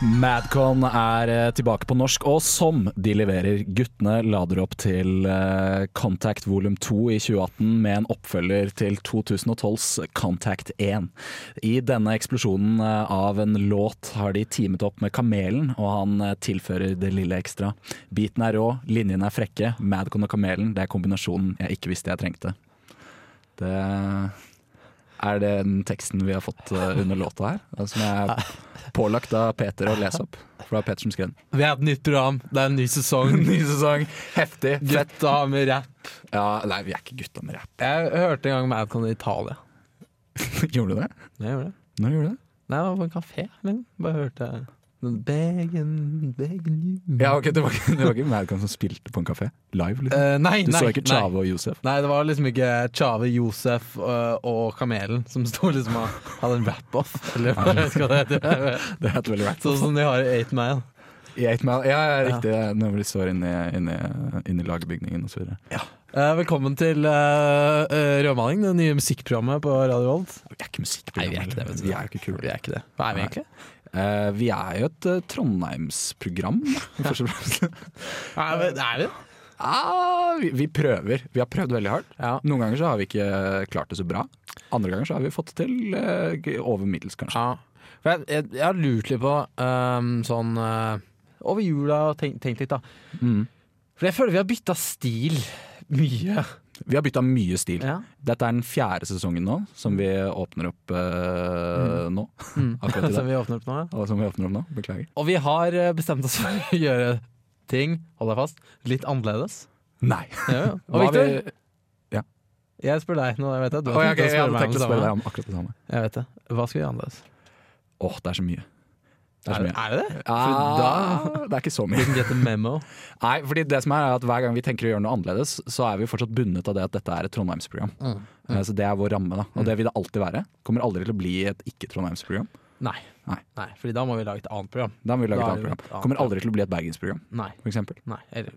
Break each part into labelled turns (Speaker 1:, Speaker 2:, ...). Speaker 1: Madcon er eh, tilbake på norsk, og som de leverer. Guttene lader opp til eh, Contact volum 2 i 2018 med en oppfølger til 2012s Contact 1. I denne eksplosjonen eh, av en låt har de teamet opp med Kamelen, og han eh, tilfører det lille ekstra. Beaten er rå, linjene er frekke. Madcon og Kamelen, det er kombinasjonen jeg ikke visste jeg trengte. Det er det den teksten vi har fått eh, under låta her, som jeg pålagt av Peter å lese opp. For det var Peter som skrev den.
Speaker 2: Vi har et nytt program, det er en ny sesong.
Speaker 1: Ny sesong, heftig, fett.
Speaker 2: Gutta med rapp.
Speaker 1: Ja, nei, vi er ikke gutta med rapp.
Speaker 2: Jeg hørte en gang Madcon i Italia.
Speaker 1: Gjorde du det?
Speaker 2: Jeg gjorde det.
Speaker 1: Nå gjorde du det.
Speaker 2: Nei, det var på en kafé. Men bare hørte jeg den Begen, begen you.
Speaker 1: Ja, ok, Det var ikke, det var ikke Madcon som spilte på en kafé live? Liksom.
Speaker 2: Eh, nei,
Speaker 1: Du
Speaker 2: nei,
Speaker 1: så ikke
Speaker 2: nei.
Speaker 1: Tjave og Josef?
Speaker 2: Nei, det var liksom ikke Tjave, Josef øh, og Kamelen som sto liksom og hadde en rap-off, eller hva jeg vet ikke hva det heter.
Speaker 1: Det het vel rap.
Speaker 2: Sånn som de har i 8 Mile.
Speaker 1: I Eight Mile. Ja, ja, riktig. Når vi står inne i- inne i- inne i lagerbygningen osv. Vi
Speaker 2: Eh, velkommen til uh, Rødmaling, det nye musikkprogrammet på Radio Volt.
Speaker 1: er ikke musikkprogram.
Speaker 2: Nei, vi er ikke det, vet du.
Speaker 1: Vi er jo ikke kule.
Speaker 2: Vi er ikke det. Hva er vi
Speaker 1: Nei.
Speaker 2: egentlig?
Speaker 1: Eh, vi er jo et eh, Trondheimsprogram, først og fremst.
Speaker 2: Er vi, er vi? det?
Speaker 1: Ah, vi, vi prøver. Vi har prøvd veldig hardt.
Speaker 2: Ja.
Speaker 1: Noen ganger så har vi ikke klart det så bra. Andre ganger så har vi fått det til eh, g- over middels, kanskje.
Speaker 2: ja. For jeg, jeg, jeg har lurt litt på øhm, sånn øh, Over jula og tenkt, tenkt litt, da.
Speaker 1: Mm.
Speaker 2: For jeg føler vi har bytta stil mye.
Speaker 1: Vi har bytta mye stil.
Speaker 2: Ja.
Speaker 1: Dette er den fjerde sesongen nå som vi åpner opp eh, nå. Akkurat i
Speaker 2: Mm. Som
Speaker 1: dag.
Speaker 2: vi åpner opp nå. Ja.
Speaker 1: Og som vi åpner opp nå. Beklager.
Speaker 2: Og vi har eh, bestemt oss for å gjøre ting, hold deg fast, litt annerledes.
Speaker 1: Nei.
Speaker 2: Ja, ja. Og
Speaker 1: Hva har
Speaker 2: Victor,
Speaker 1: vi-
Speaker 2: jeg spør deg nå. Jeg vet det. Du
Speaker 1: Å,
Speaker 2: har
Speaker 1: ja, ok,
Speaker 2: tenkt å
Speaker 1: jeg
Speaker 2: spørre
Speaker 1: hadde
Speaker 2: meg om
Speaker 1: tenkt å
Speaker 2: det
Speaker 1: spørre
Speaker 2: samme.
Speaker 1: deg om akkurat det samme.
Speaker 2: Jeg vet det. Hva skal vi gjøre annerledes?
Speaker 1: Åh, det er så mye. Det er så mye.
Speaker 2: er det det?
Speaker 1: Ah, det er ikke så mye.
Speaker 2: Didn't get the memo.
Speaker 1: Nei, fordi det som er, er at hver gang vi tenker å gjøre noe annerledes, så er vi fortsatt bundet av det at dette er et Trondheimsprogram.
Speaker 2: Mm.
Speaker 1: Eh, Så det er vår ramme, da. Og det vil det alltid være. Kommer aldri til å bli et ikke-Trondheimsprogram.
Speaker 2: Nei.
Speaker 1: Nei.
Speaker 2: Nei, fordi da må vi lage et annet program.
Speaker 1: Da må vi lage et
Speaker 2: Da er
Speaker 1: annet
Speaker 2: det jo
Speaker 1: program.
Speaker 2: et annet
Speaker 1: Kommer aldri til å bli et bergensprogram,
Speaker 2: Nei.
Speaker 1: for eksempel.
Speaker 2: Nei. Eller,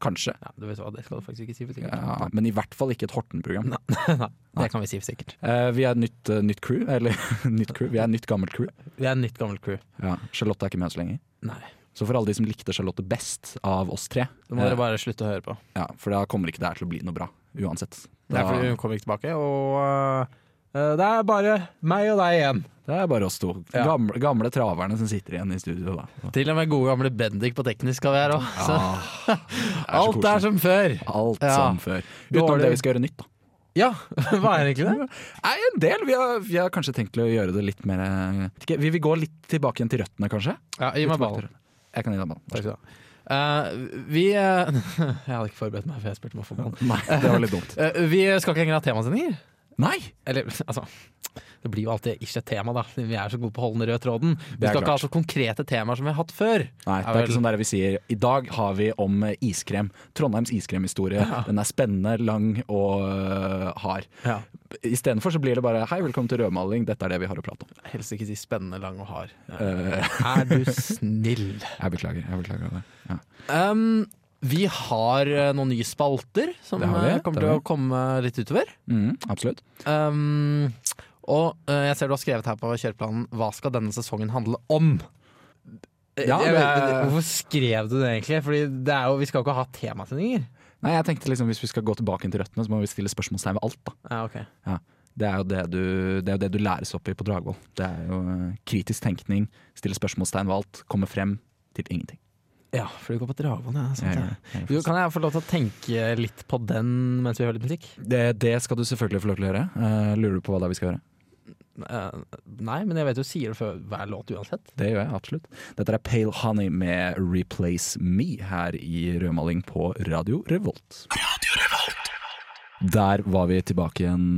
Speaker 1: Kanskje.
Speaker 2: ja, du vet hva, det skal du faktisk ikke si for sikkert.
Speaker 1: Ja, men i hvert fall ikke et Horten-program.
Speaker 2: Det kan vi si for sikkert.
Speaker 1: Eh, vi er et nytt, eh, nytt crew. Eller nytt crew. Vi er et nytt, gammelt crew.
Speaker 2: Vi er et nytt gammelt crew.
Speaker 1: Ja, Charlotte er ikke med oss lenger.
Speaker 2: Nei.
Speaker 1: Så for alle de som likte Charlotte best av oss tre,
Speaker 2: Da må
Speaker 1: eh,
Speaker 2: dere bare slutte å høre på.
Speaker 1: ja, for da kommer ikke det her til å bli noe bra. Uansett.
Speaker 2: Det er
Speaker 1: Da-
Speaker 2: fordi hun kommer ikke tilbake, og øh, det er bare meg og deg igjen.
Speaker 1: Det er bare oss to.
Speaker 2: Ja.
Speaker 1: Gamle, gamle traverne som sitter igjen i studio. Da.
Speaker 2: Til og med gode gamle Bendik på teknisk skal vi her òg. Alt er
Speaker 1: koselig.
Speaker 2: som før!
Speaker 1: Alt
Speaker 2: Ja.
Speaker 1: som før.
Speaker 2: Dårlig.
Speaker 1: Utenom det vi skal gjøre nytt, da.
Speaker 2: Ja, hva er egentlig det?
Speaker 1: Nei, en del. Vi har, vi har kanskje tenkt til å gjøre det litt mer eh, vet ikke, Vi vil gå litt tilbake igjen til røttene, kanskje?
Speaker 2: Ja, gi
Speaker 1: Tilbake
Speaker 2: meg
Speaker 1: til
Speaker 2: ballen.
Speaker 1: røttene. Jeg kan gi deg ballen.
Speaker 2: Takk skal du ha. Eh, vi eh, Jeg hadde ikke forberedt meg, for jeg spurte om å få ballen.
Speaker 1: Nei, det var litt dumt.
Speaker 2: Eh, vi skal ikke lenger ha temasendinger.
Speaker 1: Nei!
Speaker 2: Eller altså Det blir jo alltid ikke et tema, da, siden vi er så gode på å holde den røde tråden. Vi
Speaker 1: Det er
Speaker 2: skal ikke
Speaker 1: klart.
Speaker 2: ha så konkrete temaer som vi har hatt før.
Speaker 1: Nei, Det er ikke sånn der vi sier i dag har vi om eh, iskrem. Trondheims iskremhistorie. Den er spennende, lang og eh, hard.
Speaker 2: Ja.
Speaker 1: Istedenfor så blir det bare hei, velkommen til rødmaling, dette er det vi har å prate om.
Speaker 2: Helst ikke si spennende, lang og hard.
Speaker 1: Eh,
Speaker 2: Er du snill?
Speaker 1: jeg beklager. jeg beklager det. Ja.
Speaker 2: Um, vi har eh, noen nye spalter som
Speaker 1: Det har vi,
Speaker 2: eh, kommer
Speaker 1: det
Speaker 2: til
Speaker 1: har
Speaker 2: å komme litt utover.
Speaker 1: Mm, absolutt.
Speaker 2: Um, og eh, jeg ser du har skrevet her på kjøreplanen Hva skal denne sesongen handle om?
Speaker 1: Ja,
Speaker 2: jeg, vet-
Speaker 1: det-
Speaker 2: Hvorfor skrev du det egentlig? Fordi det er jo, Vi skal jo ikke ha temasendinger.
Speaker 1: Nei, jeg tenkte liksom Hvis vi skal gå tilbake inn til røttene, så må vi stille spørsmålstegn ved alt. da
Speaker 2: Ja, Ah, ok
Speaker 1: ja. det, er jo det, du, det er jo det du læres opp i på Dragvoll. Det er jo eh, kritisk tenkning, stille spørsmålstegn ved alt, komme frem til ingenting. Eh,
Speaker 2: Ja, for du går på Dragvoll, Sånn, ja. sant
Speaker 1: Jeg
Speaker 2: det.
Speaker 1: gjør det. Jeg
Speaker 2: Du,
Speaker 1: gjør det.
Speaker 2: kan jeg få lov til å tenke litt på den mens vi hører litt musikk?
Speaker 1: Det, det skal du selvfølgelig få lov til å gjøre. Eh, lurer du på hva det er vi skal gjøre?
Speaker 2: Eh, nei, men jeg vet du sier det før hver låt uansett.
Speaker 1: Det gjør jeg absolutt. Dette er Pale Honey med 'Replace Me' her i Rødmaling på Radio Revolt. Der var vi tilbake igjen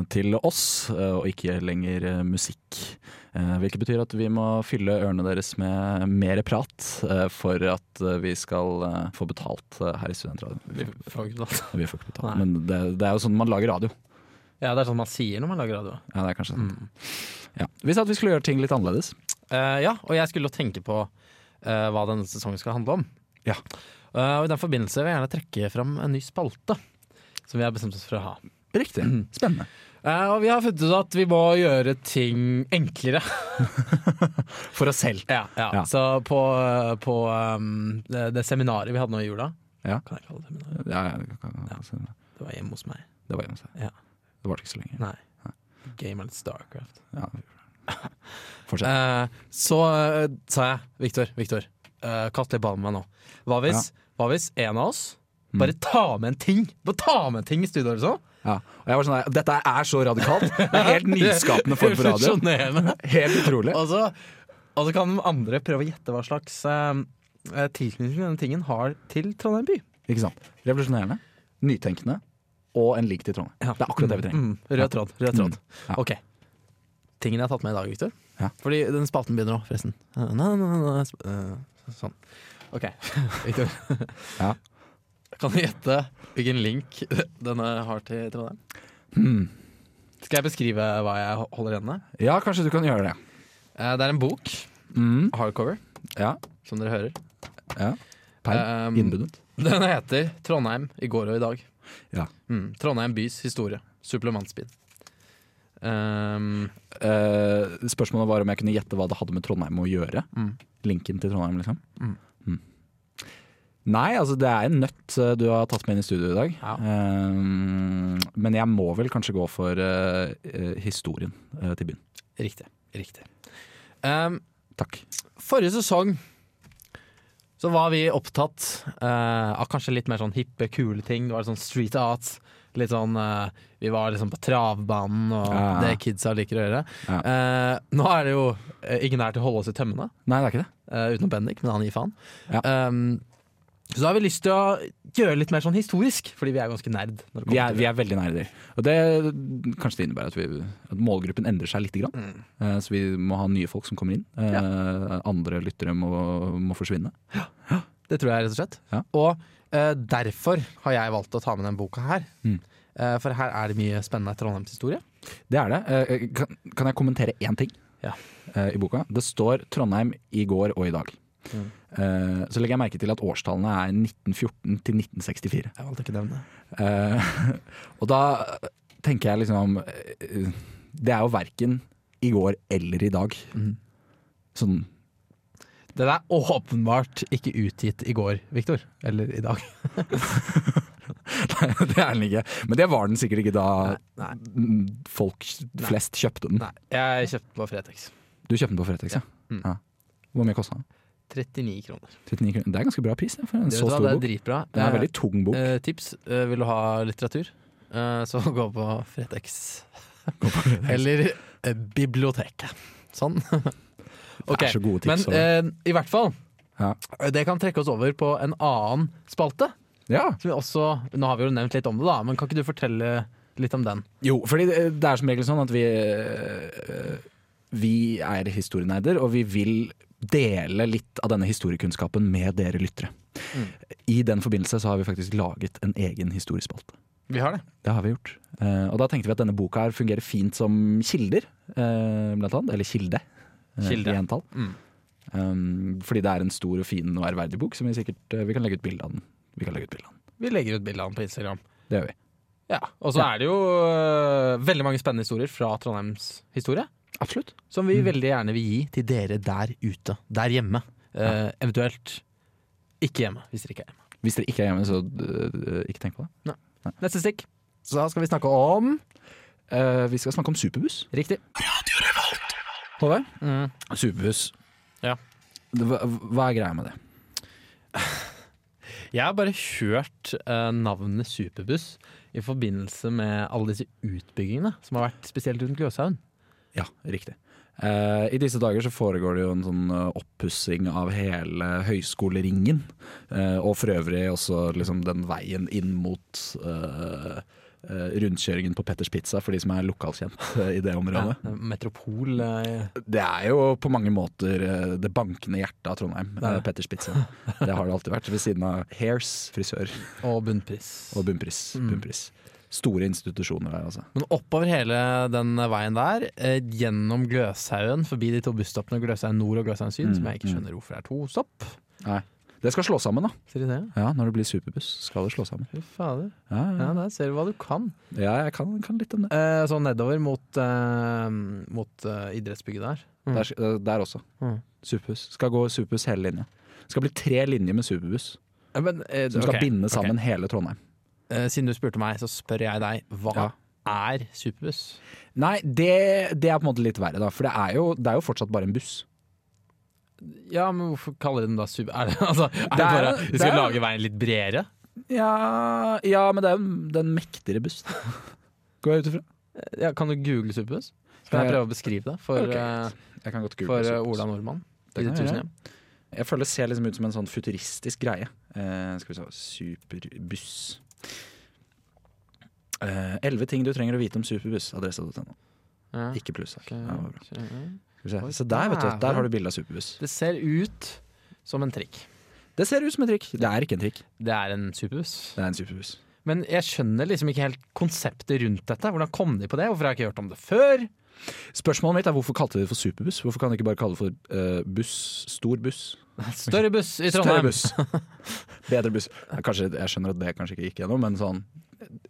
Speaker 1: eh, til oss, eh, og ikke lenger eh, musikk. Eh, Hvilket betyr at vi må fylle ørene deres med mer prat eh, for at eh, vi skal eh, få betalt eh, her i Studentradioen.
Speaker 2: Vi får ikke noe.
Speaker 1: Vi får ikke betalt,
Speaker 2: Nei.
Speaker 1: men det, det er jo sånn man lager radio.
Speaker 2: Ja, det er sånn man sier når man lager radio.
Speaker 1: Ja, det er kanskje
Speaker 2: Mm.
Speaker 1: sant. Ja. Vi sa at vi skulle gjøre ting litt annerledes.
Speaker 2: Eh, ja, og jeg skulle jo tenke på eh, hva denne sesongen skal handle om.
Speaker 1: Ja.
Speaker 2: Eh, og I den
Speaker 1: Mm.
Speaker 2: forbindelse vil jeg gjerne trekke fram en ny spalte som vi har bestemt oss for å ha.
Speaker 1: Riktig. Spennende.
Speaker 2: Eh, og vi har funnet ut at vi må gjøre ting enklere.
Speaker 1: For oss selv.
Speaker 2: Ja, ja.
Speaker 1: Ja.
Speaker 2: Så på, på um, det, det seminaret vi hadde nå i jula
Speaker 1: Ja.
Speaker 2: Kan jeg kalle det seminar?
Speaker 1: Ja, ja, det kan- altså,
Speaker 2: Det var hjemme hos meg.
Speaker 1: det var gjennom seg.
Speaker 2: Ja.
Speaker 1: Det varte ikke så lenge.
Speaker 2: Nei. Game of Starcraft.
Speaker 1: Ja. Fortsett.
Speaker 2: Eh, så eh, sa jeg Victor, Victor, eh, kast litt ballen med meg nå. Hva hvis, hva hvis en av oss bare tar med en ting? Bare ta med en ting i studio, liksom?
Speaker 1: Ja. Og jeg var sånn der, Dette er så radikalt! Det er helt nyskapende form for radio.
Speaker 2: Revolusjonerende.
Speaker 1: Helt utrolig.
Speaker 2: Og så, og så kan andre prøve å gjette hva slags eh, eh, tilknytning denne tingen har til Trondheim by.
Speaker 1: Ikke sant? Revolusjonerende, nytenkende og en link til Trondheim.
Speaker 2: Ja.
Speaker 1: Det er akkurat det vi trenger. Mm.
Speaker 2: Mm, rød tråd. Rød tråd.
Speaker 1: Ja.
Speaker 2: Ok. Tingen jeg har tatt med i dag, Victor.
Speaker 1: Ja.
Speaker 2: Fordi den spalten begynner nå, forresten. Eh, Nei, nei, nei, nei, sp- eh, sånn. Ok, Victor.
Speaker 1: Ja.
Speaker 2: Kan du gjette hvilken link denne har til Trondheim?
Speaker 1: Hmm.
Speaker 2: Skal jeg beskrive hva jeg holder igjen med?
Speaker 1: Ja, kanskje du kan gjøre det.
Speaker 2: Eh, Det er en bok,
Speaker 1: Mm.
Speaker 2: hardcover,
Speaker 1: Ja.
Speaker 2: som dere hører.
Speaker 1: ja. Per.
Speaker 2: Eh,
Speaker 1: Innbudet.
Speaker 2: Den heter 'Trondheim i går og i dag'.
Speaker 1: Ja.
Speaker 2: Mm, Trondheim bys historie. Supplementsbind. Um,
Speaker 1: Eh, spørsmålet var om jeg kunne gjette hva det hadde med Trondheim å gjøre.
Speaker 2: Mm.
Speaker 1: Linken til Trondheim, liksom.
Speaker 2: Mm.
Speaker 1: Mm. Nei, altså det er en nøtt eh, du har tatt med inn i studio i dag.
Speaker 2: Ja.
Speaker 1: Eh, men jeg må vel kanskje gå for eh, eh, historien eh, til byen.
Speaker 2: riktig. Riktig. Um,
Speaker 1: Takk.
Speaker 2: Forrige sesong så var vi opptatt eh, av kanskje litt mer sånn hippe, kule ting. Det var sånn street art. Litt sånn eh, Vi var liksom på travbanen og
Speaker 1: Ja, ja.
Speaker 2: det kidsa liker å gjøre.
Speaker 1: Ja.
Speaker 2: Eh, nå er det jo eh, ingen her til å holde oss i tømmene,
Speaker 1: Nei, det er ikke det.
Speaker 2: eh, utenom Bendik, men han gir faen.
Speaker 1: Ja.
Speaker 2: Um, så da har vi lyst til å gjøre litt mer sånn historisk, fordi vi er ganske nerd. Når det
Speaker 1: Vi
Speaker 2: kommer
Speaker 1: er,
Speaker 2: til
Speaker 1: vi
Speaker 2: det.
Speaker 1: er veldig nære der. Og det, kanskje det innebærer at, vi, at målgruppen endrer seg lite grann.
Speaker 2: Mm.
Speaker 1: Eh, Så vi må ha nye folk som kommer inn. Eh, Andre lyttere må, må forsvinne.
Speaker 2: Det tror jeg, rett og slett.
Speaker 1: Ja.
Speaker 2: Og eh, derfor har jeg valgt å ta med den boka her.
Speaker 1: Mm.
Speaker 2: Eh, for her er det mye spennende Trondheimshistorie.
Speaker 1: Det er det. Eh, Kan, kan jeg kommentere én ting
Speaker 2: Ja.
Speaker 1: eh, i boka? Det står Trondheim i går og i dag.
Speaker 2: Mm.
Speaker 1: Eh, Så legger jeg merke til at årstallene er 1914 til 1964.
Speaker 2: Jeg valgte ikke å nevne det.
Speaker 1: Eh, Og da tenker jeg liksom eh, Det er jo verken i går eller i dag.
Speaker 2: Mm.
Speaker 1: Sånn
Speaker 2: Den er åpenbart ikke utgitt i går, Viktor. Eller i dag.
Speaker 1: Nei, det er den ikke. Men det var den sikkert ikke da
Speaker 2: Nei.
Speaker 1: mm, folk flest kjøpte den.
Speaker 2: Jeg kjøpte den på Fretex.
Speaker 1: Du kjøpte den på Fretex, ja.
Speaker 2: Mm.
Speaker 1: ja. Hvor mye kosta den?
Speaker 2: 39 kroner.
Speaker 1: 39 kroner. Det er ganske bra pris det, for en
Speaker 2: Det,
Speaker 1: så stor
Speaker 2: det er
Speaker 1: bok.
Speaker 2: dritbra.
Speaker 1: Det er en veldig tung bok.
Speaker 2: Eh, tips. Eh, vil du ha litteratur, eh, så gå på Fretex. Eller eh, biblioteket. Sånn. Ok,
Speaker 1: Det er så gode tips.
Speaker 2: Men
Speaker 1: og-
Speaker 2: eh, i hvert fall, eh,
Speaker 1: Ja.
Speaker 2: det kan trekke oss over på en annen spalte.
Speaker 1: ja.
Speaker 2: Som vi også, nå har vi jo nevnt litt om det, da, men kan ikke du fortelle litt om den?
Speaker 1: Jo, fordi det det er som regel sånn at vi eh, Vi er historieneider, og vi vil dele litt av denne historiekunnskapen med dere lyttere. I den forbindelse så har vi faktisk laget en egen historiespalte.
Speaker 2: Vi har det.
Speaker 1: Det har vi gjort. Eh, og da tenkte vi at denne boka her fungerer fint som kilder, eh, blant annet. Eller kilde. eh,
Speaker 2: Kilde.
Speaker 1: I entall.
Speaker 2: Mm.
Speaker 1: Um, fordi det er en stor og fin og ærverdig bok som vi sikkert eh, Vi kan legge ut bilde av den. Vi kan legge ut bilde av den.
Speaker 2: Vi legger ut bilde av den på Instagram.
Speaker 1: Det gjør vi.
Speaker 2: Ja, Og så er det jo øh, veldig mange spennende historier fra Trondheims historie.
Speaker 1: Absolutt.
Speaker 2: Som vi veldig gjerne vil gi til dere der ute. Der hjemme. Eh, eventuelt ikke hjemme, hvis dere ikke er hjemme.
Speaker 1: Hvis dere ikke er hjemme, så eh, ikke tenk på det.
Speaker 2: Neste stikk. Så skal vi snakke om
Speaker 1: Eh, vi skal snakke om superbuss.
Speaker 2: Riktig.
Speaker 1: Tove?
Speaker 2: Mm.
Speaker 1: Superbuss.
Speaker 2: Ja.
Speaker 1: Det- Hva, hva er greia med det?
Speaker 2: Jeg har bare hørt eh, navnet superbuss i forbindelse med alle disse utbyggingene som har vært spesielt rundt Gløshaugen.
Speaker 1: Ja, riktig. Eh, I disse dager så foregår det jo en sånn eh, oppussing av hele høyskoleringen. eh, og for øvrig også liksom den veien inn mot eh, eh, rundkjøringen på Petters Pizza, for de som er lokalkjent eh, i det området.
Speaker 2: Ja, Metropol eh,
Speaker 1: Det er jo på mange måter eh, det bankende hjertet av Trondheim. eh, Petters Pizza. Det har det alltid vært. Ved siden av Hairs Mm. frisør
Speaker 2: og bunnpris.
Speaker 1: og Bunnpris. Bunnpris. Store institusjoner der, altså.
Speaker 2: Men oppover hele den veien der, eh, gjennom Mm, Gløshaugen, forbi de to busstoppene Gløshaugen nord og Gløshaugen syd, som jeg ikke skjønner hvorfor det er to stopp,
Speaker 1: Nei. Det skal slå sammen, da.
Speaker 2: Ser du det?
Speaker 1: Ja, Når det blir superbuss, skal det slå sammen.
Speaker 2: Fy fader. Mm.
Speaker 1: Ja,
Speaker 2: Ja,
Speaker 1: ja.
Speaker 2: der ser du hva du kan.
Speaker 1: ja jeg kan, kan litt om det.
Speaker 2: Eh, så nedover mot, eh, mot eh, idrettsbygget der. Mm.
Speaker 1: Der, eh, der også.
Speaker 2: Mm.
Speaker 1: Superbuss. Skal gå superbuss hele linja. Det skal bli tre linjer med superbuss
Speaker 2: Ja, men, eh,
Speaker 1: som skal
Speaker 2: ok,
Speaker 1: binde
Speaker 2: ok.
Speaker 1: sammen hele Trondheim.
Speaker 2: Eh, siden du spurte meg, så spør jeg deg. Hva
Speaker 1: Ja.
Speaker 2: er superbuss?
Speaker 1: Nei, det, det er på en måte litt verre, da. For det er jo, det er jo fortsatt bare en buss.
Speaker 2: Ja, men hvorfor kaller de den da super... Er det, altså, er det,
Speaker 1: Det er-
Speaker 2: bare Vi
Speaker 1: det
Speaker 2: skal
Speaker 1: er-
Speaker 2: lage veien litt bredere?
Speaker 1: Ja, ja men det er en, det er en mektigere buss. da. Går jeg ut ifra?
Speaker 2: Ja, kan du google superbuss? Skal jeg
Speaker 1: Eh,
Speaker 2: prøve å beskrive det for,
Speaker 1: ok,
Speaker 2: eh,
Speaker 1: Jeg kan godt google
Speaker 2: for eh,
Speaker 1: superbuss.
Speaker 2: Ola Nordmann?
Speaker 1: Det
Speaker 2: i
Speaker 1: kan jeg gjøre.
Speaker 2: Tusenhjem?
Speaker 1: Jeg føler det ser liksom ut som en sånn futuristisk greie. Eh, skal vi se Superbuss. Eh, Elleve ting du trenger å vite om superbuss. Adresse.no.
Speaker 2: Ja.
Speaker 1: Ikke pluss. her.
Speaker 2: Ok,
Speaker 1: Ja, det var bra.
Speaker 2: ok.
Speaker 1: Skal vi se. Se der, vet du. Der har du bilde av superbuss.
Speaker 2: Det ser ut som en trikk.
Speaker 1: Det ser ut som en trikk. Det er ikke en trikk.
Speaker 2: Det er en superbuss.
Speaker 1: Det er en superbuss.
Speaker 2: Men jeg skjønner liksom ikke helt konseptet rundt dette. Hvordan kom de på det? Hvorfor har jeg ikke hørt om det før?
Speaker 1: Spørsmålet mitt er hvorfor kalte de det for superbuss? Hvorfor kan de ikke bare kalle det for eh, buss? Stor buss?
Speaker 2: Større buss i
Speaker 1: Større
Speaker 2: Trondheim.
Speaker 1: buss. Bedre buss. Ja, Kanskje, jeg skjønner at det kanskje ikke gikk gjennom, men sånn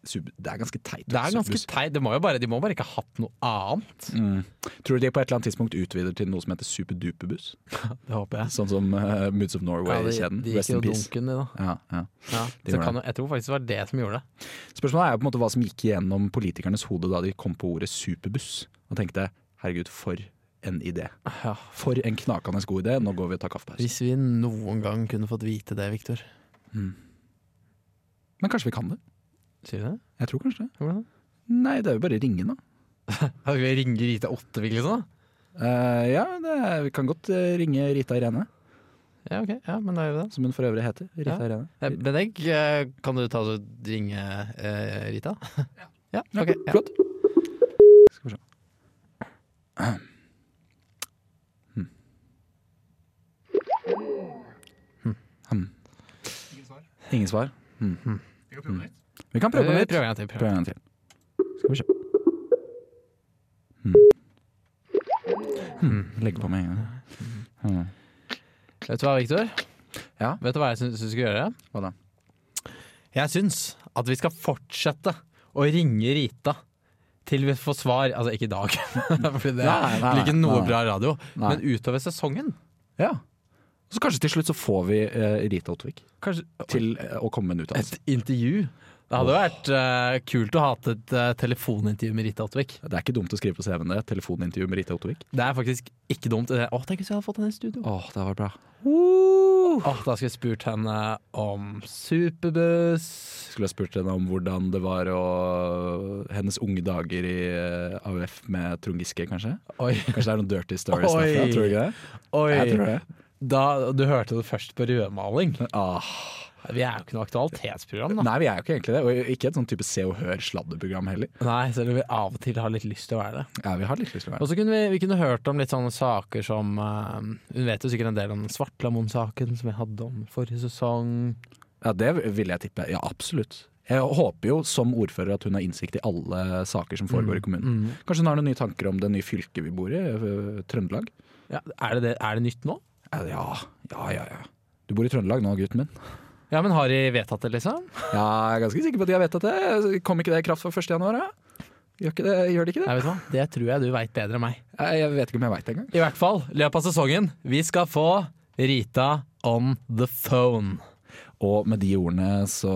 Speaker 1: super, Det er ganske teit.
Speaker 2: Det er ganske
Speaker 1: superbuss.
Speaker 2: teit. De må jo bare, de må bare ikke ha hatt noe annet.
Speaker 1: Mm. Tror du de på et eller annet tidspunkt utvider til noe som heter superduperbuss?
Speaker 2: Det håper jeg.
Speaker 1: Sånn som eh, Moods of
Speaker 2: Ja,
Speaker 1: Norway-kjeden.
Speaker 2: de, de
Speaker 1: Rest
Speaker 2: gikk
Speaker 1: in
Speaker 2: jo
Speaker 1: peace.
Speaker 2: dunken, de, da.
Speaker 1: Ja, ja.
Speaker 2: Ja,
Speaker 1: De
Speaker 2: så
Speaker 1: gjorde
Speaker 2: kan, jo- jeg tror faktisk det var det som gjorde det.
Speaker 1: Spørsmålet er jo på en måte hva som gikk gjennom politikernes hode da de kom på ordet superbuss. Og tenkte herregud, for en idé.
Speaker 2: Ja.
Speaker 1: For en knakende god idé. Nå går vi og tar kaffepause.
Speaker 2: Hvis vi noen gang kunne fått vite det, Viktor.
Speaker 1: Men kanskje vi kan det?
Speaker 2: Sier du det?
Speaker 1: Jeg tror kanskje det.
Speaker 2: Hvordan?
Speaker 1: Nei, det er jo bare å ringe, da.
Speaker 2: Skal vi ringe Rita Ottevik, liksom? da?
Speaker 1: Eh, ja, det er, vi kan godt eh, ringe Rita Irene,
Speaker 2: Ja, ok. Ja, men da gjør vi det.
Speaker 1: som hun for øvrig heter. Rita
Speaker 2: Ja.
Speaker 1: Irene.
Speaker 2: Eh, Benegg, eh, kan du ta og ringe eh, Rita?
Speaker 1: Ja,
Speaker 2: Ja. ok. Ja.
Speaker 1: Flott. Skal vi se. Hm. Hm. Ingen svar. Hm. Vi kan prøve
Speaker 2: Eh, Prøv
Speaker 1: noe nytt.
Speaker 2: en gang til. Prøv.
Speaker 1: Prøv en gang til. Skal vi se. Hm. Hm. Legge på med en gang. Hm.
Speaker 2: Vet du hva, Viktor?
Speaker 1: Ja?
Speaker 2: Vet du hva jeg syns du skal gjøre?
Speaker 1: Hva da?
Speaker 2: Jeg syns at vi skal fortsette å ringe Rita til vi får svar. Altså, ikke i dag, for det
Speaker 1: Nei, nei,
Speaker 2: blir ikke noe
Speaker 1: nei.
Speaker 2: bra radio.
Speaker 1: Nei.
Speaker 2: Men utover sesongen.
Speaker 1: Ja. Så kanskje til slutt så får vi eh, Rita Ottvik
Speaker 2: Kanskje
Speaker 1: til eh, å komme med en uttalelse.
Speaker 2: et intervju. Det hadde vært eh, kult å ha hatt et eh, telefonintervju med Rita Ottvik.
Speaker 1: Det er ikke dumt å skrive på CV-en det. Telefonintervju med Rita Ottvik.
Speaker 2: Det er faktisk ikke dumt. Det- Å, tenk hvis jeg hadde fått henne i studio.
Speaker 1: Åh, det var bra.
Speaker 2: Åh, da skulle jeg spurt henne om superbuss.
Speaker 1: Skulle ha spurt henne om hvordan det var å Hennes unge dager i eh, AUF med Trond Giske, kanskje?
Speaker 2: Oi,
Speaker 1: Kanskje det er noen dirty stories
Speaker 2: Oi.
Speaker 1: derfra? Tror du ikke det? Jeg tror
Speaker 2: oi.
Speaker 1: det.
Speaker 2: Da, du hørte det først på rødmaling.
Speaker 1: Ah.
Speaker 2: Vi er jo ikke noe aktualitetsprogram, da.
Speaker 1: Nei, vi er jo ikke egentlig det. Og ikke et sånn type Se og Hør-sladderprogram heller.
Speaker 2: Nei, selv om vi av og til har litt lyst til å være det.
Speaker 1: Ja, vi har litt lyst til å være
Speaker 2: Og så kunne vi, vi kunne hørt om litt sånne saker som eh, Hun vet jo sikkert en del om Svartlamoen-saken som vi hadde om forrige sesong.
Speaker 1: Ja, det vil jeg tippe. Ja, absolutt. Jeg håper jo som ordfører at hun har innsikt i alle saker som foregår i kommunen. Kanskje hun har noen nye tanker om det nye fylket vi bor i, eh, Trøndelag?
Speaker 2: Ja, er, det det, er det nytt nå?
Speaker 1: Eh, Ja, ja, ja. ja. Du bor i Trøndelag nå, gutten min?
Speaker 2: Ja, men har de vedtatt det, liksom?
Speaker 1: Ja, jeg er ganske sikker på at de har vedtatt det. Kom ikke det i kraft for 1. januar? Ja? Gjør, ikke det, gjør det ikke det?
Speaker 2: Nei, vet du hva? Det tror jeg du veit bedre enn meg.
Speaker 1: Eh, Jeg, jeg vet ikke om jeg veit det engang.
Speaker 2: I hvert fall, i løpet av sesongen, vi skal få Rita on the phone.
Speaker 1: Og med de ordene så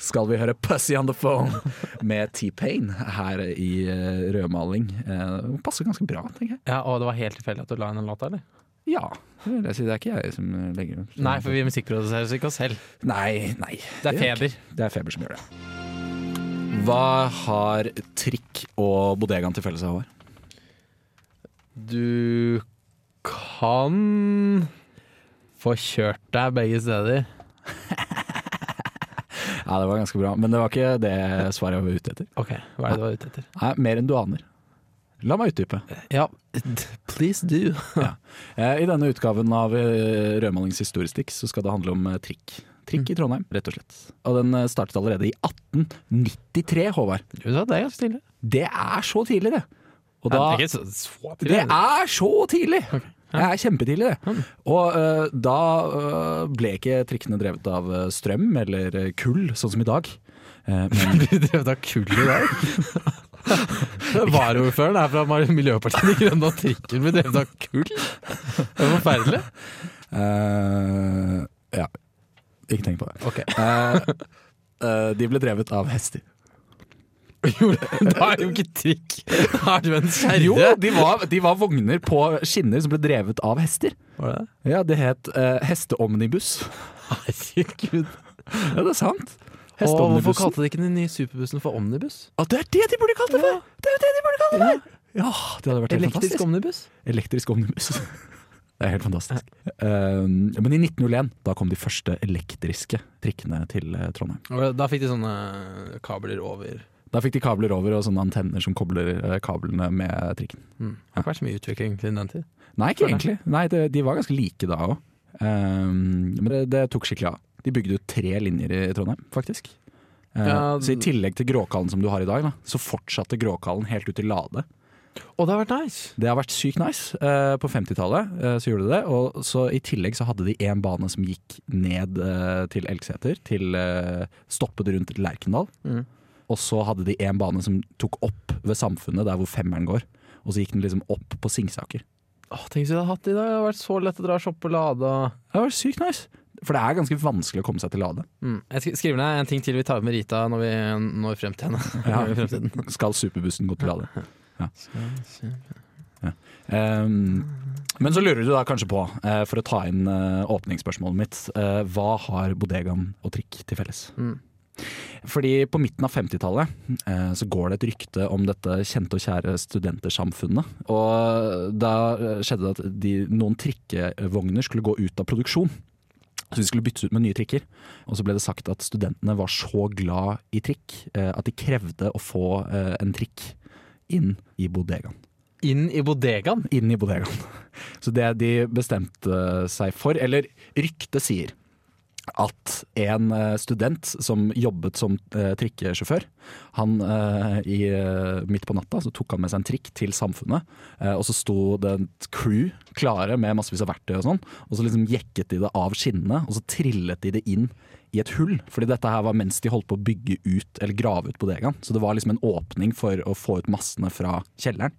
Speaker 1: skal vi høre 'Pussy on the Phone' med T-Pain her i eh, rødmaling. Eh, Det passer ganske bra, tenker jeg.
Speaker 2: Ja, Og det var helt tilfeldig at du la inn den låta, eller?
Speaker 1: Ja, det vil jeg si. Det er ikke jeg som legger ut.
Speaker 2: Nei, for vi musikkproduserer ikke oss selv.
Speaker 1: Nei, nei.
Speaker 2: Det er
Speaker 1: gjør jeg
Speaker 2: feber.
Speaker 1: ikke. Det er feber som gjør det. Hva har trikk og bodegaen til felles, Håvard?
Speaker 2: Du kan få kjørt deg begge steder.
Speaker 1: Ja, det var ganske bra, men det var ikke det svaret jeg var ute etter.
Speaker 2: Ok, hva er det du var ute etter?
Speaker 1: Nei, mer enn du aner. La meg utdype.
Speaker 2: Ja, please do.
Speaker 1: Eh, I denne utgaven av eh, Rødmalings historiestikk så skal det handle om eh, trikk. Trikk i
Speaker 2: Mm.
Speaker 1: Trondheim, rett og slett. Og den eh, startet allerede i 1893, Håvard.
Speaker 2: Du sa det ganske stille.
Speaker 1: Det er så tidlig, det! Og
Speaker 2: Det
Speaker 1: da,
Speaker 2: er ikke så, så
Speaker 1: det
Speaker 2: tidlig. Mm.
Speaker 1: er så tidlig! Det er kjempetidlig, det. Og eh, da eh, ble ikke trikkene drevet av eh, strøm eller eh, kull, sånn som i dag. Eh, men
Speaker 2: Vi drev da kull i dag. Varaordføreren er fra Mar- Miljøpartiet De Grønne, og trikken blir drevet av kull? Det er forferdelig.
Speaker 1: eh, ja, ikke tenk på det.
Speaker 2: Ok.
Speaker 1: Eh, eh, de ble drevet av hester.
Speaker 2: Jo, Da er det jo ikke trikk! Da er det jo en kjerre.
Speaker 1: Jo, de var, de var vogner på skinner som ble drevet av hester.
Speaker 2: Var det det?
Speaker 1: Ja, det het eh, hesteomnibus.
Speaker 2: Herregud.
Speaker 1: Ja, det er sant.
Speaker 2: Og hvorfor
Speaker 1: Hesteomnibussen.
Speaker 2: kalte de ikke den nye superbussen for omnibus?
Speaker 1: Ja, det er det de burde kalt det for! Det er jo det de burde kalt det for! Ja, det hadde vært helt
Speaker 2: Elektrisk
Speaker 1: fantastisk.
Speaker 2: omnibus?
Speaker 1: Elektrisk omnibus. Det er helt fantastisk. Um, men i 1901 da kom de første elektriske trikkene til eh, Trondheim.
Speaker 2: Og Da fikk de sånne eh, kabler over.
Speaker 1: Da fikk de kabler over og sånne antenner som kobler eh, kablene med trikken.
Speaker 2: Mm. Det har ikke vært så mye utvikling siden den tid.
Speaker 1: Nei, ikke egentlig. Nei, det, De var ganske like da òg. Um, men det, det tok skikkelig av. De bygde ut tre linjer i Trondheim, faktisk. Eh,
Speaker 2: Ja,
Speaker 1: så i tillegg til Gråkallen som du har i dag, da, så fortsatte Gråkallen helt ut til Lade.
Speaker 2: Og det har vært nice!
Speaker 1: Det har vært sykt nice. Eh, På 50-tallet eh, så gjorde de det. Og så I tillegg så hadde de én bane som gikk ned eh, til Elgseter, til eh, stoppet rundt Lerkendal.
Speaker 2: Mm.
Speaker 1: Og så hadde de én bane som tok opp ved Samfunnet, der hvor femmeren går. Og så gikk den liksom opp på Singsaker.
Speaker 2: Åh, tenk hvis vi hadde hatt det i dag. Det hadde vært så lett å dra og shoppe og lade. og-
Speaker 1: Det var sykt nice. For det er ganske vanskelig å komme seg til Lade.
Speaker 2: Mm. Jeg sk- skriver ned en ting til vi tar med Rita når vi når frem til henne.
Speaker 1: Ja.
Speaker 2: I fremtiden.
Speaker 1: Skal superbussen gå til Lade? Um, men så lurer du da kanskje på, eh, for å ta inn eh, åpningsspørsmålet mitt, eh, hva har bodegaen og trikk til felles?
Speaker 2: Mm.
Speaker 1: Fordi på midten av 50-tallet eh, så går det et rykte om dette kjente og kjære studentersamfunnet. Og da eh, skjedde det at de, noen trikkevogner skulle gå ut av produksjon. Så de skulle byttes ut med nye trikker. Og så ble det sagt at studentene var så glad i trikk eh, at de krevde å få eh, en trikk inn i bodegaen
Speaker 2: Inn i bodegaen?
Speaker 1: inn i bodegaen. Så det de bestemte seg for, eller ryktet sier, at en eh, student som jobbet som eh, trikkesjåfør, han eh, i, eh, midt på natta så tok han med seg en trikk til samfunnet, eh, og så sto det et crew klare med massevis av verktøy og sånn, og så liksom jekket de det av skinnene, og så trillet de det inn i et hull, fordi dette her var mens de holdt på å bygge ut eller grave ut bodegaen, så det var liksom en åpning for å få ut massene fra kjelleren.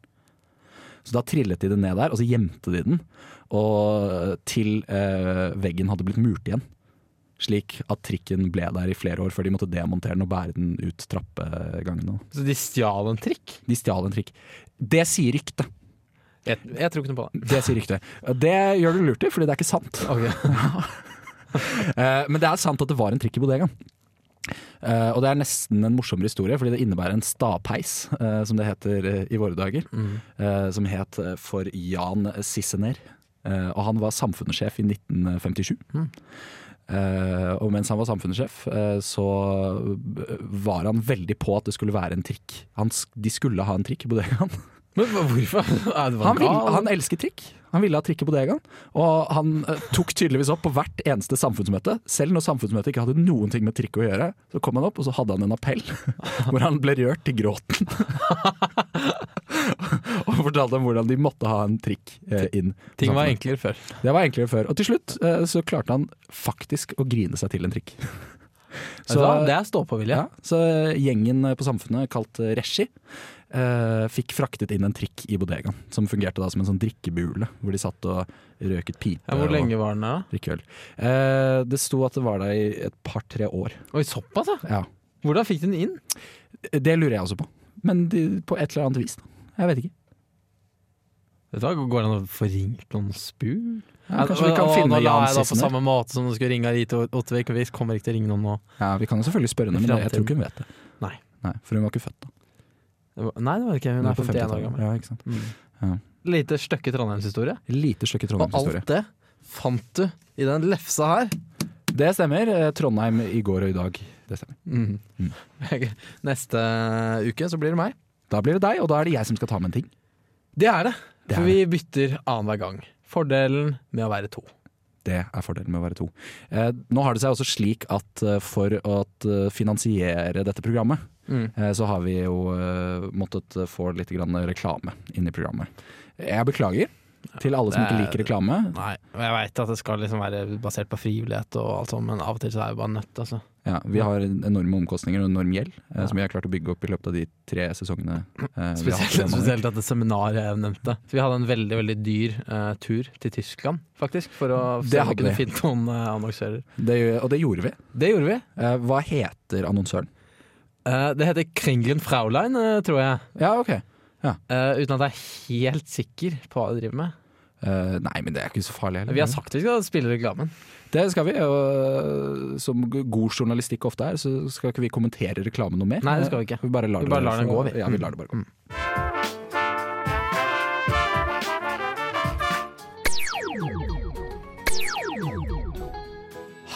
Speaker 1: Så da trillet de det ned der, og så gjemte de den. Og til eh, veggen hadde blitt murt igjen. Slik at trikken ble der i flere år før de måtte demontere den og bære den ut trappegangene.
Speaker 2: Så de stjal en trikk?
Speaker 1: De stjal en trikk. Det sier ryktet.
Speaker 2: Jeg, jeg tror ikke noe på det.
Speaker 1: Det sier ryktet. Det gjør du lurt i, fordi det er ikke sant.
Speaker 2: Ok.
Speaker 1: Eh, men det er sant at det var en trikk i bodegaen. Eh, og det er nesten en morsommere historie, fordi det innebærer en stapeis, eh, som det heter eh, i våre dager. eh, som het eh, for Jan Sissener. Eh, og han var samfunnssjef i 1957. Eh, og mens han var samfunnssjef, eh, så eh, var han veldig på at det skulle være en trikk. Han, sk- de skulle ha en trikk i bodegaen.
Speaker 2: Men hva- hvorfor? Er det
Speaker 1: Han,
Speaker 2: gal?
Speaker 1: ville, han elsket trikk. Han ville ha trikk i bodegaen. Og han eh, tok tydeligvis opp på hvert eneste samfunnsmøte. Selv når samfunnsmøtet ikke hadde noen ting med trikk å gjøre, så kom han opp og så hadde han en appell hvor han ble rørt til gråten. og fortalte om hvordan de måtte ha en trikk eh, inn.
Speaker 2: Ting var enklere før.
Speaker 1: Det var enklere før. Og til slutt eh, så klarte han faktisk å grine seg til en trikk.
Speaker 2: Så,
Speaker 1: Så- eh,
Speaker 2: det er stå-på-vilje.
Speaker 1: ja, så gjengen på Samfunnet, kalt Reshi, eh, fikk fraktet inn en trikk i bodegaen. Som fungerte da som en sånn drikkebule, hvor de satt og røket pipe.
Speaker 2: Ja, hvor lenge var den da?
Speaker 1: Og drikkeøl. Eh, det sto at det var der i et par-tre år.
Speaker 2: Oi, såpass, ja!
Speaker 1: Ja.
Speaker 2: Hvordan fikk du den inn?
Speaker 1: Det lurer jeg også på. Men de, på et eller annet vis. da. Jeg vet ikke.
Speaker 2: Vet du hva, Går det an å få ringt noen spur?
Speaker 1: Ja, kanskje vi kan
Speaker 2: Å,
Speaker 1: finne
Speaker 2: nå la
Speaker 1: Jan
Speaker 2: jeg da på
Speaker 1: Sissener.
Speaker 2: samme måte som du skulle ringe Rita Ottervik, og vi kommer ikke til å ringe noen nå.
Speaker 1: Ja, vi kan jo selvfølgelig spørre henne,
Speaker 2: I
Speaker 1: men det- jeg tror
Speaker 2: fremtiden.
Speaker 1: ikke hun vet det.
Speaker 2: Nei.
Speaker 1: For hun var ikke født da.
Speaker 2: Det var- Nei, det var ikke hun. Hun er 51 år gammel. Mm.
Speaker 1: Ja, ikke sant?
Speaker 2: Lite støkke Trondheimshistorie.
Speaker 1: Lite stykke
Speaker 2: Og
Speaker 1: Trondheimshistorie.
Speaker 2: alt det fant du i den lefsa her.
Speaker 1: Det stemmer. eh, Trondheim i går og i dag. Det stemmer.
Speaker 2: Mm.
Speaker 1: Mm.
Speaker 2: Neste uke så blir det meg.
Speaker 1: Da blir det deg, og da er det jeg som skal ta med en ting.
Speaker 2: Det er det.
Speaker 1: Det
Speaker 2: For
Speaker 1: er
Speaker 2: vi bytter annenhver gang. Fordelen med å være to.
Speaker 1: Det er fordelen med å være to. Eh, nå har det seg også slik at eh, for å eh, finansiere dette programmet,
Speaker 2: Mm.
Speaker 1: eh, så har vi jo eh, måttet eh, få litt grann reklame inn i programmet. Jeg beklager til alle som ikke
Speaker 2: det er-
Speaker 1: liker reklame.
Speaker 2: Nei, og jeg veit at det skal liksom være basert på frivillighet og alt sånt, men av og til så er jeg bare nødt, altså.
Speaker 1: Ja, vi har enorme omkostninger og enorm gjeld, eh,
Speaker 2: Ja.
Speaker 1: som vi har klart å bygge opp i løpet av de tre sesongene. eh, vi har hatt
Speaker 2: Spesielt,
Speaker 1: programmet.
Speaker 2: spesielt at det seminaret jeg nevnte. Så vi hadde en veldig veldig dyr eh, tur til Tyskland, faktisk, for å
Speaker 1: Det
Speaker 2: se om
Speaker 1: hadde
Speaker 2: vi kunne
Speaker 1: vi.
Speaker 2: finne noen eh, annonsører.
Speaker 1: Det, og det gjorde vi.
Speaker 2: Det gjorde vi.
Speaker 1: Eh, hva heter annonsøren?
Speaker 2: Eh, det heter Kringlen Fraulein, eh, tror jeg.
Speaker 1: Ja, ok.
Speaker 2: Eh, uten at jeg er helt sikker på hva de driver med.
Speaker 1: Eh, nei, men det er ikke så farlig heller.
Speaker 2: Vi har sagt vi skal spille reklamen.
Speaker 1: Det skal vi, og eh, som god journalistikk ofte er, så skal ikke vi kommentere reklame noe mer.
Speaker 2: Nei, det skal vi ikke.
Speaker 1: Vi bare lar,
Speaker 2: Vi bare lar den gå, vi.
Speaker 1: Ja, vi lar det bare gå.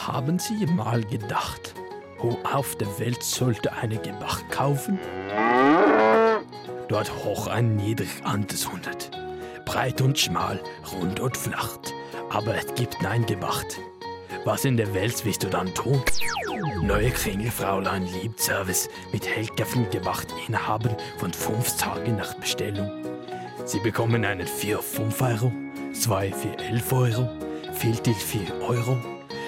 Speaker 2: Haben Sie mal gedacht, wo auf der Welt sollte eine Gebach kaufen? Dort hoch ein niedrig antes hundert. Breit und schmal, rund und flach. Aber es gibt nein Gebach. Was in der Welt willst du dann tun? Neue Kringelfräulein liebt Service mit Hellkaffen gemacht, Inhaber von fünf Tagen nach Bestellung. Sie bekommen einen 4 5 Euro, 2 für 11 Euro, viel til 4 Euro.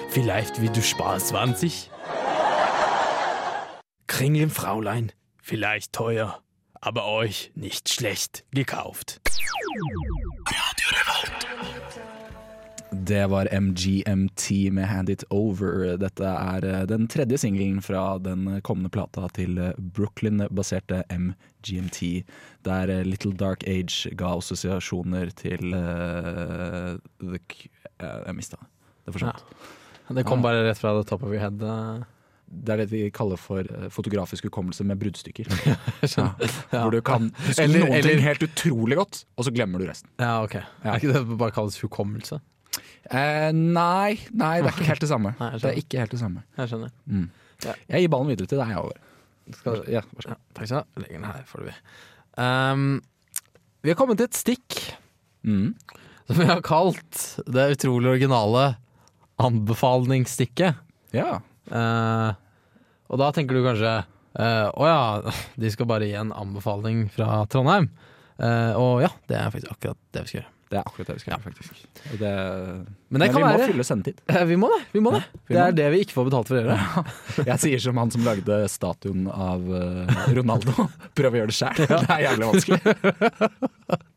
Speaker 2: Vielleicht wie du sparst 20? Kringeln Fraulein, vielleicht teuer, aber euch nicht schlecht gekauft.
Speaker 1: Det var MGMT med 'Hand It Over'. Dette er eh, den tredje singelen fra den kommende plata til eh, Brooklyn-baserte MGMT, der eh, Little Dark Age ga assosiasjoner til eh, the, Q- eh, Jeg mista det. Det forsvant.
Speaker 2: Det kom bare rett fra the top of your head. eh.
Speaker 1: Det er det vi kaller for eh, fotografisk hukommelse med bruddstykker.
Speaker 2: skjønner. Ja.
Speaker 1: Hvor du kan huske
Speaker 2: Eller-
Speaker 1: noen
Speaker 2: eller-
Speaker 1: ting helt utrolig godt, og så glemmer du resten.
Speaker 2: Ja, ok. Er ikke det bare kalles hukommelse?
Speaker 1: Eh, nei, nei, det er ikke helt det samme.
Speaker 2: Nei, jeg skjønner.
Speaker 1: det er ikke helt det samme. Mm.
Speaker 2: Jeg skjønner.
Speaker 1: Jeg gir ballen videre til deg. Over.
Speaker 2: Skal,
Speaker 1: Ja, vær så god.
Speaker 2: ja, takk skal du ha. Legg den her, får du vi. Um, vi har kommet til et stikk
Speaker 1: Mm.
Speaker 2: som vi har kalt det utrolig originale anbefalingsstikket.
Speaker 1: Ja.
Speaker 2: Eh, og da tenker du kanskje eh, Å ja, de skal bare gi en anbefaling fra Trondheim. Eh, og ja, det er faktisk akkurat det vi skal gjøre.
Speaker 1: Det er akkurat det vi skal gjøre, faktisk. Og det,
Speaker 2: Men det
Speaker 1: Men
Speaker 2: kan
Speaker 1: vi
Speaker 2: være
Speaker 1: må fylle sendetid.
Speaker 2: Eh, Vi må det. vi må Det
Speaker 1: vi
Speaker 2: Det
Speaker 1: må
Speaker 2: er det vi ikke får betalt for å gjøre.
Speaker 1: Jeg sier som han som lagde statuen av eh, Ronaldo. Prøv å gjøre det sjæl. Det er jævlig vanskelig.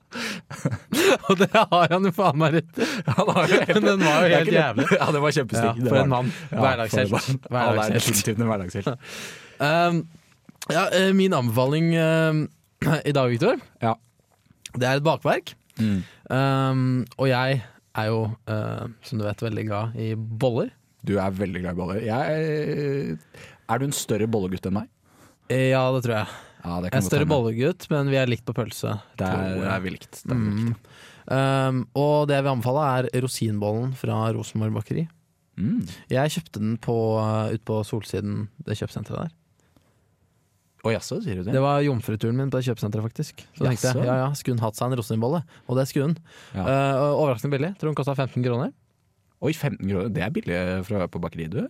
Speaker 2: og det har han jo faen meg rett i.
Speaker 1: Han har jo
Speaker 2: Men den var jo helt
Speaker 1: Det er ikke
Speaker 2: jævlig.
Speaker 1: det. Ja, det var
Speaker 2: Ja,
Speaker 1: kjempestygg. det
Speaker 2: for
Speaker 1: var
Speaker 2: en
Speaker 1: den.
Speaker 2: mann.
Speaker 1: Ja,
Speaker 2: Hverdagshelt.
Speaker 1: for en mann. Han er
Speaker 2: Hverdagshelt.
Speaker 1: definitivt en hverdagshelt.
Speaker 2: Um, ja, eh, min anbefaling eh, i dag, Victor,
Speaker 1: Ja.
Speaker 2: det er et bakverk.
Speaker 1: Mm.
Speaker 2: Um, og jeg er jo, eh, som du vet, veldig glad i boller.
Speaker 1: Du er veldig glad i boller. Jeg, eh, er du en større bollegutt enn meg?
Speaker 2: Eh, Ja, det tror jeg.
Speaker 1: Ja, det
Speaker 2: Jeg er
Speaker 1: godt
Speaker 2: større
Speaker 1: hende.
Speaker 2: bollegutt, men vi er likt på pølse.
Speaker 1: Det er,
Speaker 2: tror
Speaker 1: det er
Speaker 2: jeg.
Speaker 1: vilkt. Det er vilkt.
Speaker 2: Mm. Um, og det jeg vil anbefale, er rosinbollen fra Rosenborg bakeri.
Speaker 1: Mm.
Speaker 2: Jeg kjøpte den på, uh, ut på Solsiden, det kjøpesenteret der.
Speaker 1: Å jaså, sier du det?
Speaker 2: Det var jomfruturen min på det kjøpesenteret, faktisk. Så tenkte
Speaker 1: Jaså?
Speaker 2: jeg ja, ja, skulle hun hatt seg en rosinbolle? Og det skulle hun.
Speaker 1: Ja.
Speaker 2: Uh, overraskende billig. Tror hun kosta 15 kroner.
Speaker 1: Oi, 15 kroner. Det er billig for å være på bakeri, du.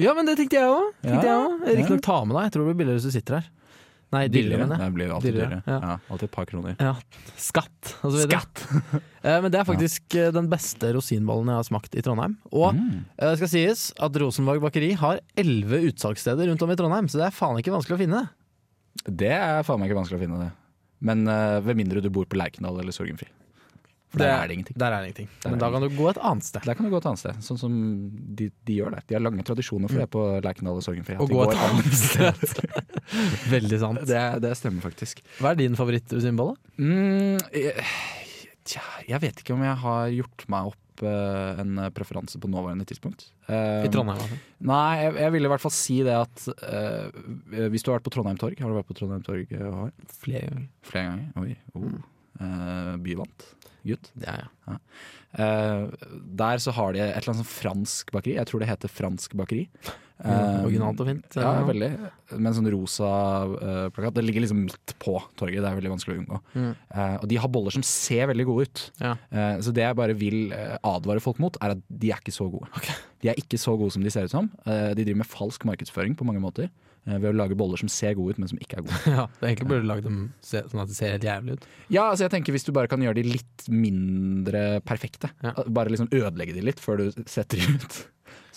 Speaker 2: Ja, men det tenkte jeg òg.
Speaker 1: tenkte jeg også.
Speaker 2: Riktignok ta med deg. Jeg tror det blir billigere hvis du sitter her. Nei, dyrere, mener jeg.
Speaker 1: Det blir alltid
Speaker 2: Dyrere,
Speaker 1: dyrere.
Speaker 2: ja.
Speaker 1: Ja. alltid et par kroner.
Speaker 2: Ja, skatt. Og så videre. Eh, men det er faktisk eh, den beste rosinbollen jeg har smakt i Trondheim. Og
Speaker 1: Mm.
Speaker 2: eh, det skal sies at Rosenborg bakeri har elleve utsalgssteder rundt om i Trondheim, så det er faen ikke vanskelig å finne.
Speaker 1: Det er faen meg ikke vanskelig å finne det. Men eh, ved mindre du bor på Lerkendal eller Sorgenfri. For der er det ingenting.
Speaker 2: Der er det ingenting.
Speaker 1: Der er
Speaker 2: men da
Speaker 1: det
Speaker 2: kan du gå et annet sted.
Speaker 1: Der kan du gå et annet sted, sånn som de, de gjør der. De har lange tradisjoner for det på Lerkendal og Sorgenfri. at
Speaker 2: Å
Speaker 1: de
Speaker 2: Mm. gå
Speaker 1: går
Speaker 2: et
Speaker 1: an-
Speaker 2: annet sted. Veldig sant.
Speaker 1: det, det stemmer faktisk.
Speaker 2: Hva er din favoritt-rosinbolle?
Speaker 1: Mm, jeg, tja, jeg vet ikke om jeg har gjort meg opp eh, en preferanse på nåværende tidspunkt. Eh,
Speaker 2: I Trondheim, altså.
Speaker 1: Nei, jeg, jeg ville i hvert fall si det at eh, hvis du har vært på Trondheim Torg Har du vært på Trondheim Torg eh, Håvard?
Speaker 2: Flere ganger.
Speaker 1: flere ganger? Oi, oh. Eh, byvant gutt.
Speaker 2: Ja, ja.
Speaker 1: Eh, der så har de et eller annet sånn fransk bakeri. Jeg tror det heter Fransk bakeri. Eh,
Speaker 2: Originalt og fint.
Speaker 1: Ja, veldig. Med en sånn rosa eh, plakat. Det ligger liksom midt på torget, det er veldig vanskelig å unngå.
Speaker 2: Mm.
Speaker 1: Eh, og de har boller som ser veldig gode ut.
Speaker 2: Ja.
Speaker 1: Eh, så det jeg bare vil eh, advare folk mot, er at de er ikke så gode. De er ikke så gode som de ser ut som. Eh, de driver med falsk markedsføring på mange måter. eh, ved å lage boller som ser gode ut, men som ikke er gode.
Speaker 2: ja, det er egentlig burde du lagd dem se, sånn at det ser helt jævlig ut.
Speaker 1: Ja, altså jeg tenker Hvis du bare kan gjøre de litt mindre perfekte,
Speaker 2: Ja.
Speaker 1: bare liksom ødelegge de litt før du setter de ut.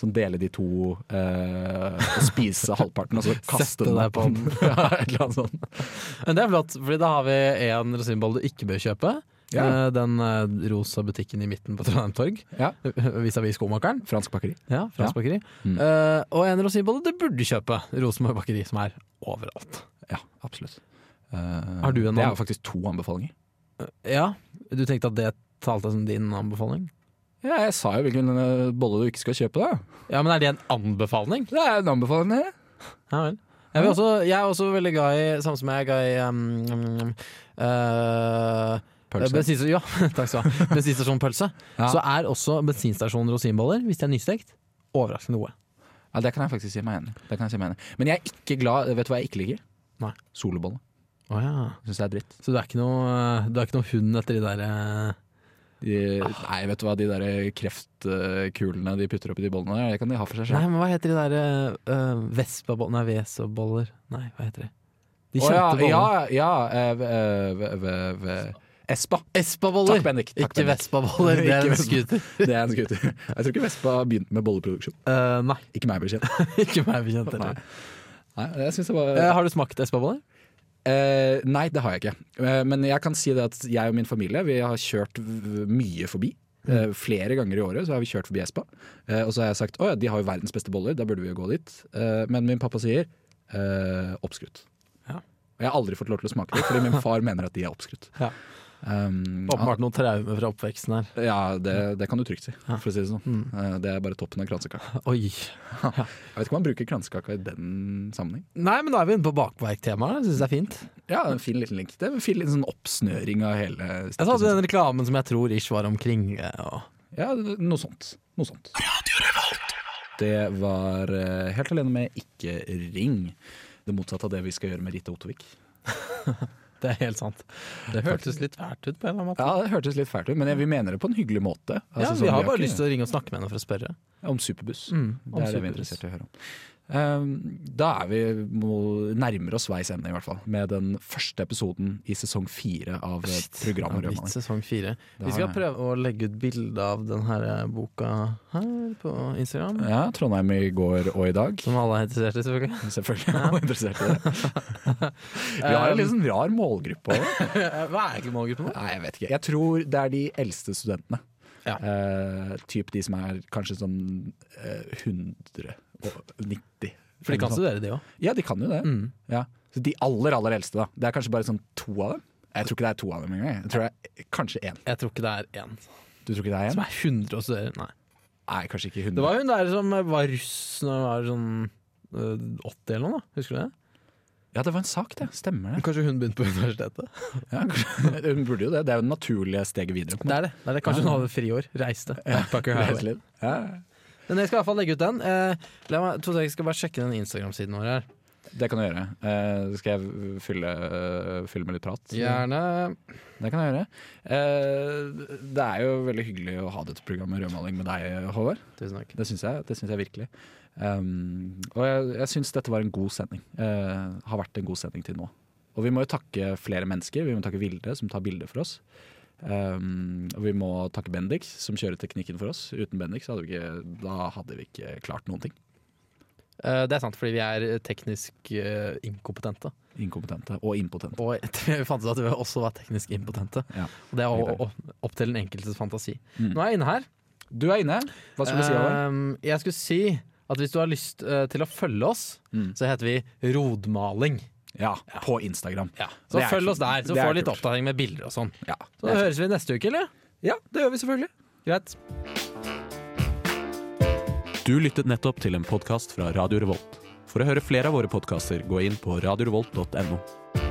Speaker 1: Sånn dele de to, eh, og spise halvparten og så kaste
Speaker 2: Sette
Speaker 1: den
Speaker 2: deg
Speaker 1: opp.
Speaker 2: på den.
Speaker 1: ja, et eller annet sånt.
Speaker 2: Men det er flott, Fordi da har vi en rosinboll du ikke bør kjøpe.
Speaker 1: Ja.
Speaker 2: Eh, Den eh, rosa butikken i midten på Trondheim torg,
Speaker 1: Ja.
Speaker 2: vis-à-vis skomakeren.
Speaker 1: Fransk bakeri.
Speaker 2: Ja, Frans Bakeri.
Speaker 1: Mm.
Speaker 2: Eh, og en rosinbolle du burde kjøpe. Rosenborg Bakeri, som er overalt.
Speaker 1: Ja, absolutt. Eh,
Speaker 2: Har du en
Speaker 1: det er
Speaker 2: an-
Speaker 1: jo faktisk to anbefalinger.
Speaker 2: Ja, Du tenkte at det talte som din anbefaling?
Speaker 1: Ja, jeg sa jo hvilken eh, bolle du ikke skal kjøpe, da.
Speaker 2: Ja, Men er det en anbefaling?
Speaker 1: Det er en anbefaling, det.
Speaker 2: Ja vel. Jeg, vil også, jeg er også veldig glad i, samme som jeg er glad i um, um, um, eh,
Speaker 1: Pølse.
Speaker 2: bensinstasjon- ja, takk skal du ha. Bensinstasjonpølse.
Speaker 1: Ja.
Speaker 2: Så er også bensinstasjonen rosinboller, hvis de er nystekt, overraskende gode.
Speaker 1: Ja, det kan jeg faktisk si meg enig i. Det kan jeg si meg enig i. Men jeg er ikke glad Vet du hva jeg ikke liker?
Speaker 2: Nei.
Speaker 1: Solbolle.
Speaker 2: Å ja.
Speaker 1: Syns jeg er dritt.
Speaker 2: Så du er ikke noe, du er ikke noe hund etter de der eh,
Speaker 1: De,
Speaker 2: Ah.
Speaker 1: nei, vet du hva, de der kreftkulene de putter oppi de bollene der, det kan de ha for seg
Speaker 2: Nei,
Speaker 1: selv.
Speaker 2: men hva heter de der uh, Vespaboller Nei, Vesoboller Nei, hva heter de? De
Speaker 1: Å
Speaker 2: kjente
Speaker 1: ja,
Speaker 2: bollene.
Speaker 1: ja, ja eh, v- eh, v- v- Espa.
Speaker 2: Espaboller!
Speaker 1: Takk, Bendik. Takk,
Speaker 2: ikke
Speaker 1: Bendik.
Speaker 2: Vespaboller, det
Speaker 1: Ikke
Speaker 2: er en
Speaker 1: Vespa.
Speaker 2: scooter.
Speaker 1: Det er en scooter. Jeg tror ikke Vespa begynte med bolleproduksjon.
Speaker 2: Eh, nei,
Speaker 1: Ikke meg bekjent.
Speaker 2: ikke meg bekjent.
Speaker 1: Nei.
Speaker 2: heller.
Speaker 1: Nei, jeg synes det var
Speaker 2: Eh, har du smakt espaboller?
Speaker 1: Eh, nei, det har jeg ikke. Eh, men jeg kan si det at jeg og min familie Vi har kjørt v- mye forbi. Eh,
Speaker 2: Mm.
Speaker 1: flere ganger i året så har vi kjørt forbi Espa. Eh, og så har jeg sagt at de har jo verdens beste boller, da burde vi jo gå dit. Eh, men min pappa sier eh, oppskrutt.
Speaker 2: Ja.
Speaker 1: Og jeg har aldri fått lov til å smake det, fordi min far mener at de er oppskrutt.
Speaker 2: Ja.
Speaker 1: Um,
Speaker 2: Åpenbart noen traumer fra oppveksten her.
Speaker 1: ja, det, det kan du trygt si, for å si det sånn.
Speaker 2: Mm.
Speaker 1: Eh, det er bare toppen av kransekaka.
Speaker 2: Oi.
Speaker 1: Jeg vet ikke om man bruker kransekaka i den sammenheng.
Speaker 2: Nei, men da er vi inne på bakverktemaet. Syns det er fint.
Speaker 1: Ja, en fin liten link. Det er en fin liten sånn oppsnøring av hele
Speaker 2: Jeg sa den reklamen som jeg tror ish var omkring. eh, Og
Speaker 1: Ja, noe sånt. Noe sånt. Det var eh, Helt alene med Ikke ring. Det motsatte av det vi skal gjøre med Rita Ottervik.
Speaker 2: det er helt sant. Det hørtes litt fælt ut på en eller annen måte.
Speaker 1: Ja, Det hørtes litt fælt ut, men vi mener det på en hyggelig måte.
Speaker 2: Ja,
Speaker 1: Altså, sånn,
Speaker 2: vi har Mm, bare
Speaker 1: ikke-
Speaker 2: lyst til å ringe og snakke med henne for å spørre.
Speaker 1: Mm, Om superbuss.
Speaker 2: om
Speaker 1: det er det vi er
Speaker 2: superbuss.
Speaker 1: interessert i å høre om. Eh, da er vi må, nærmere oss veis ende, i hvert fall. Med den første episoden i sesong fire av eh,
Speaker 2: Det
Speaker 1: programmet
Speaker 2: er blitt
Speaker 1: Rødmann.
Speaker 2: sesong fire.
Speaker 1: har
Speaker 2: Vi skal
Speaker 1: det.
Speaker 2: prøve å legge ut bilde av denne boka her på Instagram.
Speaker 1: Ja, Trondheim i går og i dag.
Speaker 2: Som alle er interessert i, selvfølgelig.
Speaker 1: Selvfølgelig er man interessert i det. Vi har en litt sånn rar målgruppe òg.
Speaker 2: Hva er egentlig målgruppen nå?
Speaker 1: Nei, jeg vet ikke. Jeg tror det er de eldste studentene.
Speaker 2: Ja.
Speaker 1: Eh, typ de som er kanskje sånn eh, 190.
Speaker 2: For de kan Mm. studere, de òg.
Speaker 1: Ja, de kan jo det. Ja. Så de aller, aller eldste, da. Det er kanskje bare sånn to av dem. Jeg tror ikke det er to av dem engang. Jeg tror det er kanskje én.
Speaker 2: Jeg tror ikke det er én
Speaker 1: Du tror ikke det er
Speaker 2: som
Speaker 1: én?
Speaker 2: er 100 og studerer. Nei.
Speaker 1: Nei, kanskje ikke 100.
Speaker 2: Det var hun der som var russ når hun var sånn øh, 80 eller noe, da. husker du det?
Speaker 1: Ja, det var en sak, det. Stemmer det.
Speaker 2: Kanskje hun begynte på universitetet?
Speaker 1: Ja, kanskje- Hun burde jo det. Det er jo det naturlige steget videre. på en
Speaker 2: Det
Speaker 1: måte.
Speaker 2: er det. det, er det. Kanskje hun hadde friår. Reiste. Backpacker
Speaker 1: Det er helt
Speaker 2: highway.
Speaker 1: litt- Ja,
Speaker 2: Men jeg skal i hvert fall legge ut den. Eh, la meg, to sekunder, jeg skal bare sjekke den Instagram-siden vår her.
Speaker 1: det kan du gjøre. Eh, skal jeg fylle, eh, fylle med litt prat?
Speaker 2: Gjerne.
Speaker 1: Det kan jeg gjøre. Eh, det er jo veldig hyggelig å ha dette programmet Rødmaling med deg, Håvard.
Speaker 2: Tusen takk.
Speaker 1: Det syns jeg, det syns jeg virkelig. Um, og jeg, jeg syns dette var en god sending. Eh, har vært en god sending til nå. Og vi må jo takke flere mennesker. Vi må takke Vilde, som tar bilder for oss. Um, og vi må takke Bendik, som kjører teknikken for oss. Uten Bendik så hadde vi ikke, da hadde vi ikke klart noen ting.
Speaker 2: Eh, det er sant, fordi vi er teknisk eh, inkompetente.
Speaker 1: Inkompetente og impotente.
Speaker 2: Og etter vi fant ut at vi også var teknisk impotente.
Speaker 1: Ja.
Speaker 2: Og det er o- o- opp til den enkeltes fantasi.
Speaker 1: Mm.
Speaker 2: Nå er jeg inne her.
Speaker 1: Du er inne. Hva skulle du si, Håvard?
Speaker 2: Ehm, jeg skulle si at hvis du har lyst eh, til å følge oss,
Speaker 1: Mm.
Speaker 2: så heter vi Rodmaling.
Speaker 1: Ja, på Instagram.
Speaker 2: Så
Speaker 1: Det er
Speaker 2: følg
Speaker 1: kult.
Speaker 2: oss der, så
Speaker 1: Det er
Speaker 2: får du litt
Speaker 1: kult.
Speaker 2: oppdatering med bilder og sånn.
Speaker 1: Ja,
Speaker 2: Så da høres vi neste uke, eller?
Speaker 1: ja, det gjør vi selvfølgelig.
Speaker 2: Greit.
Speaker 3: Du lyttet nettopp til en podkast fra Radio Revolt. For å høre flere av våre podkaster, gå inn på radiorevolt.no.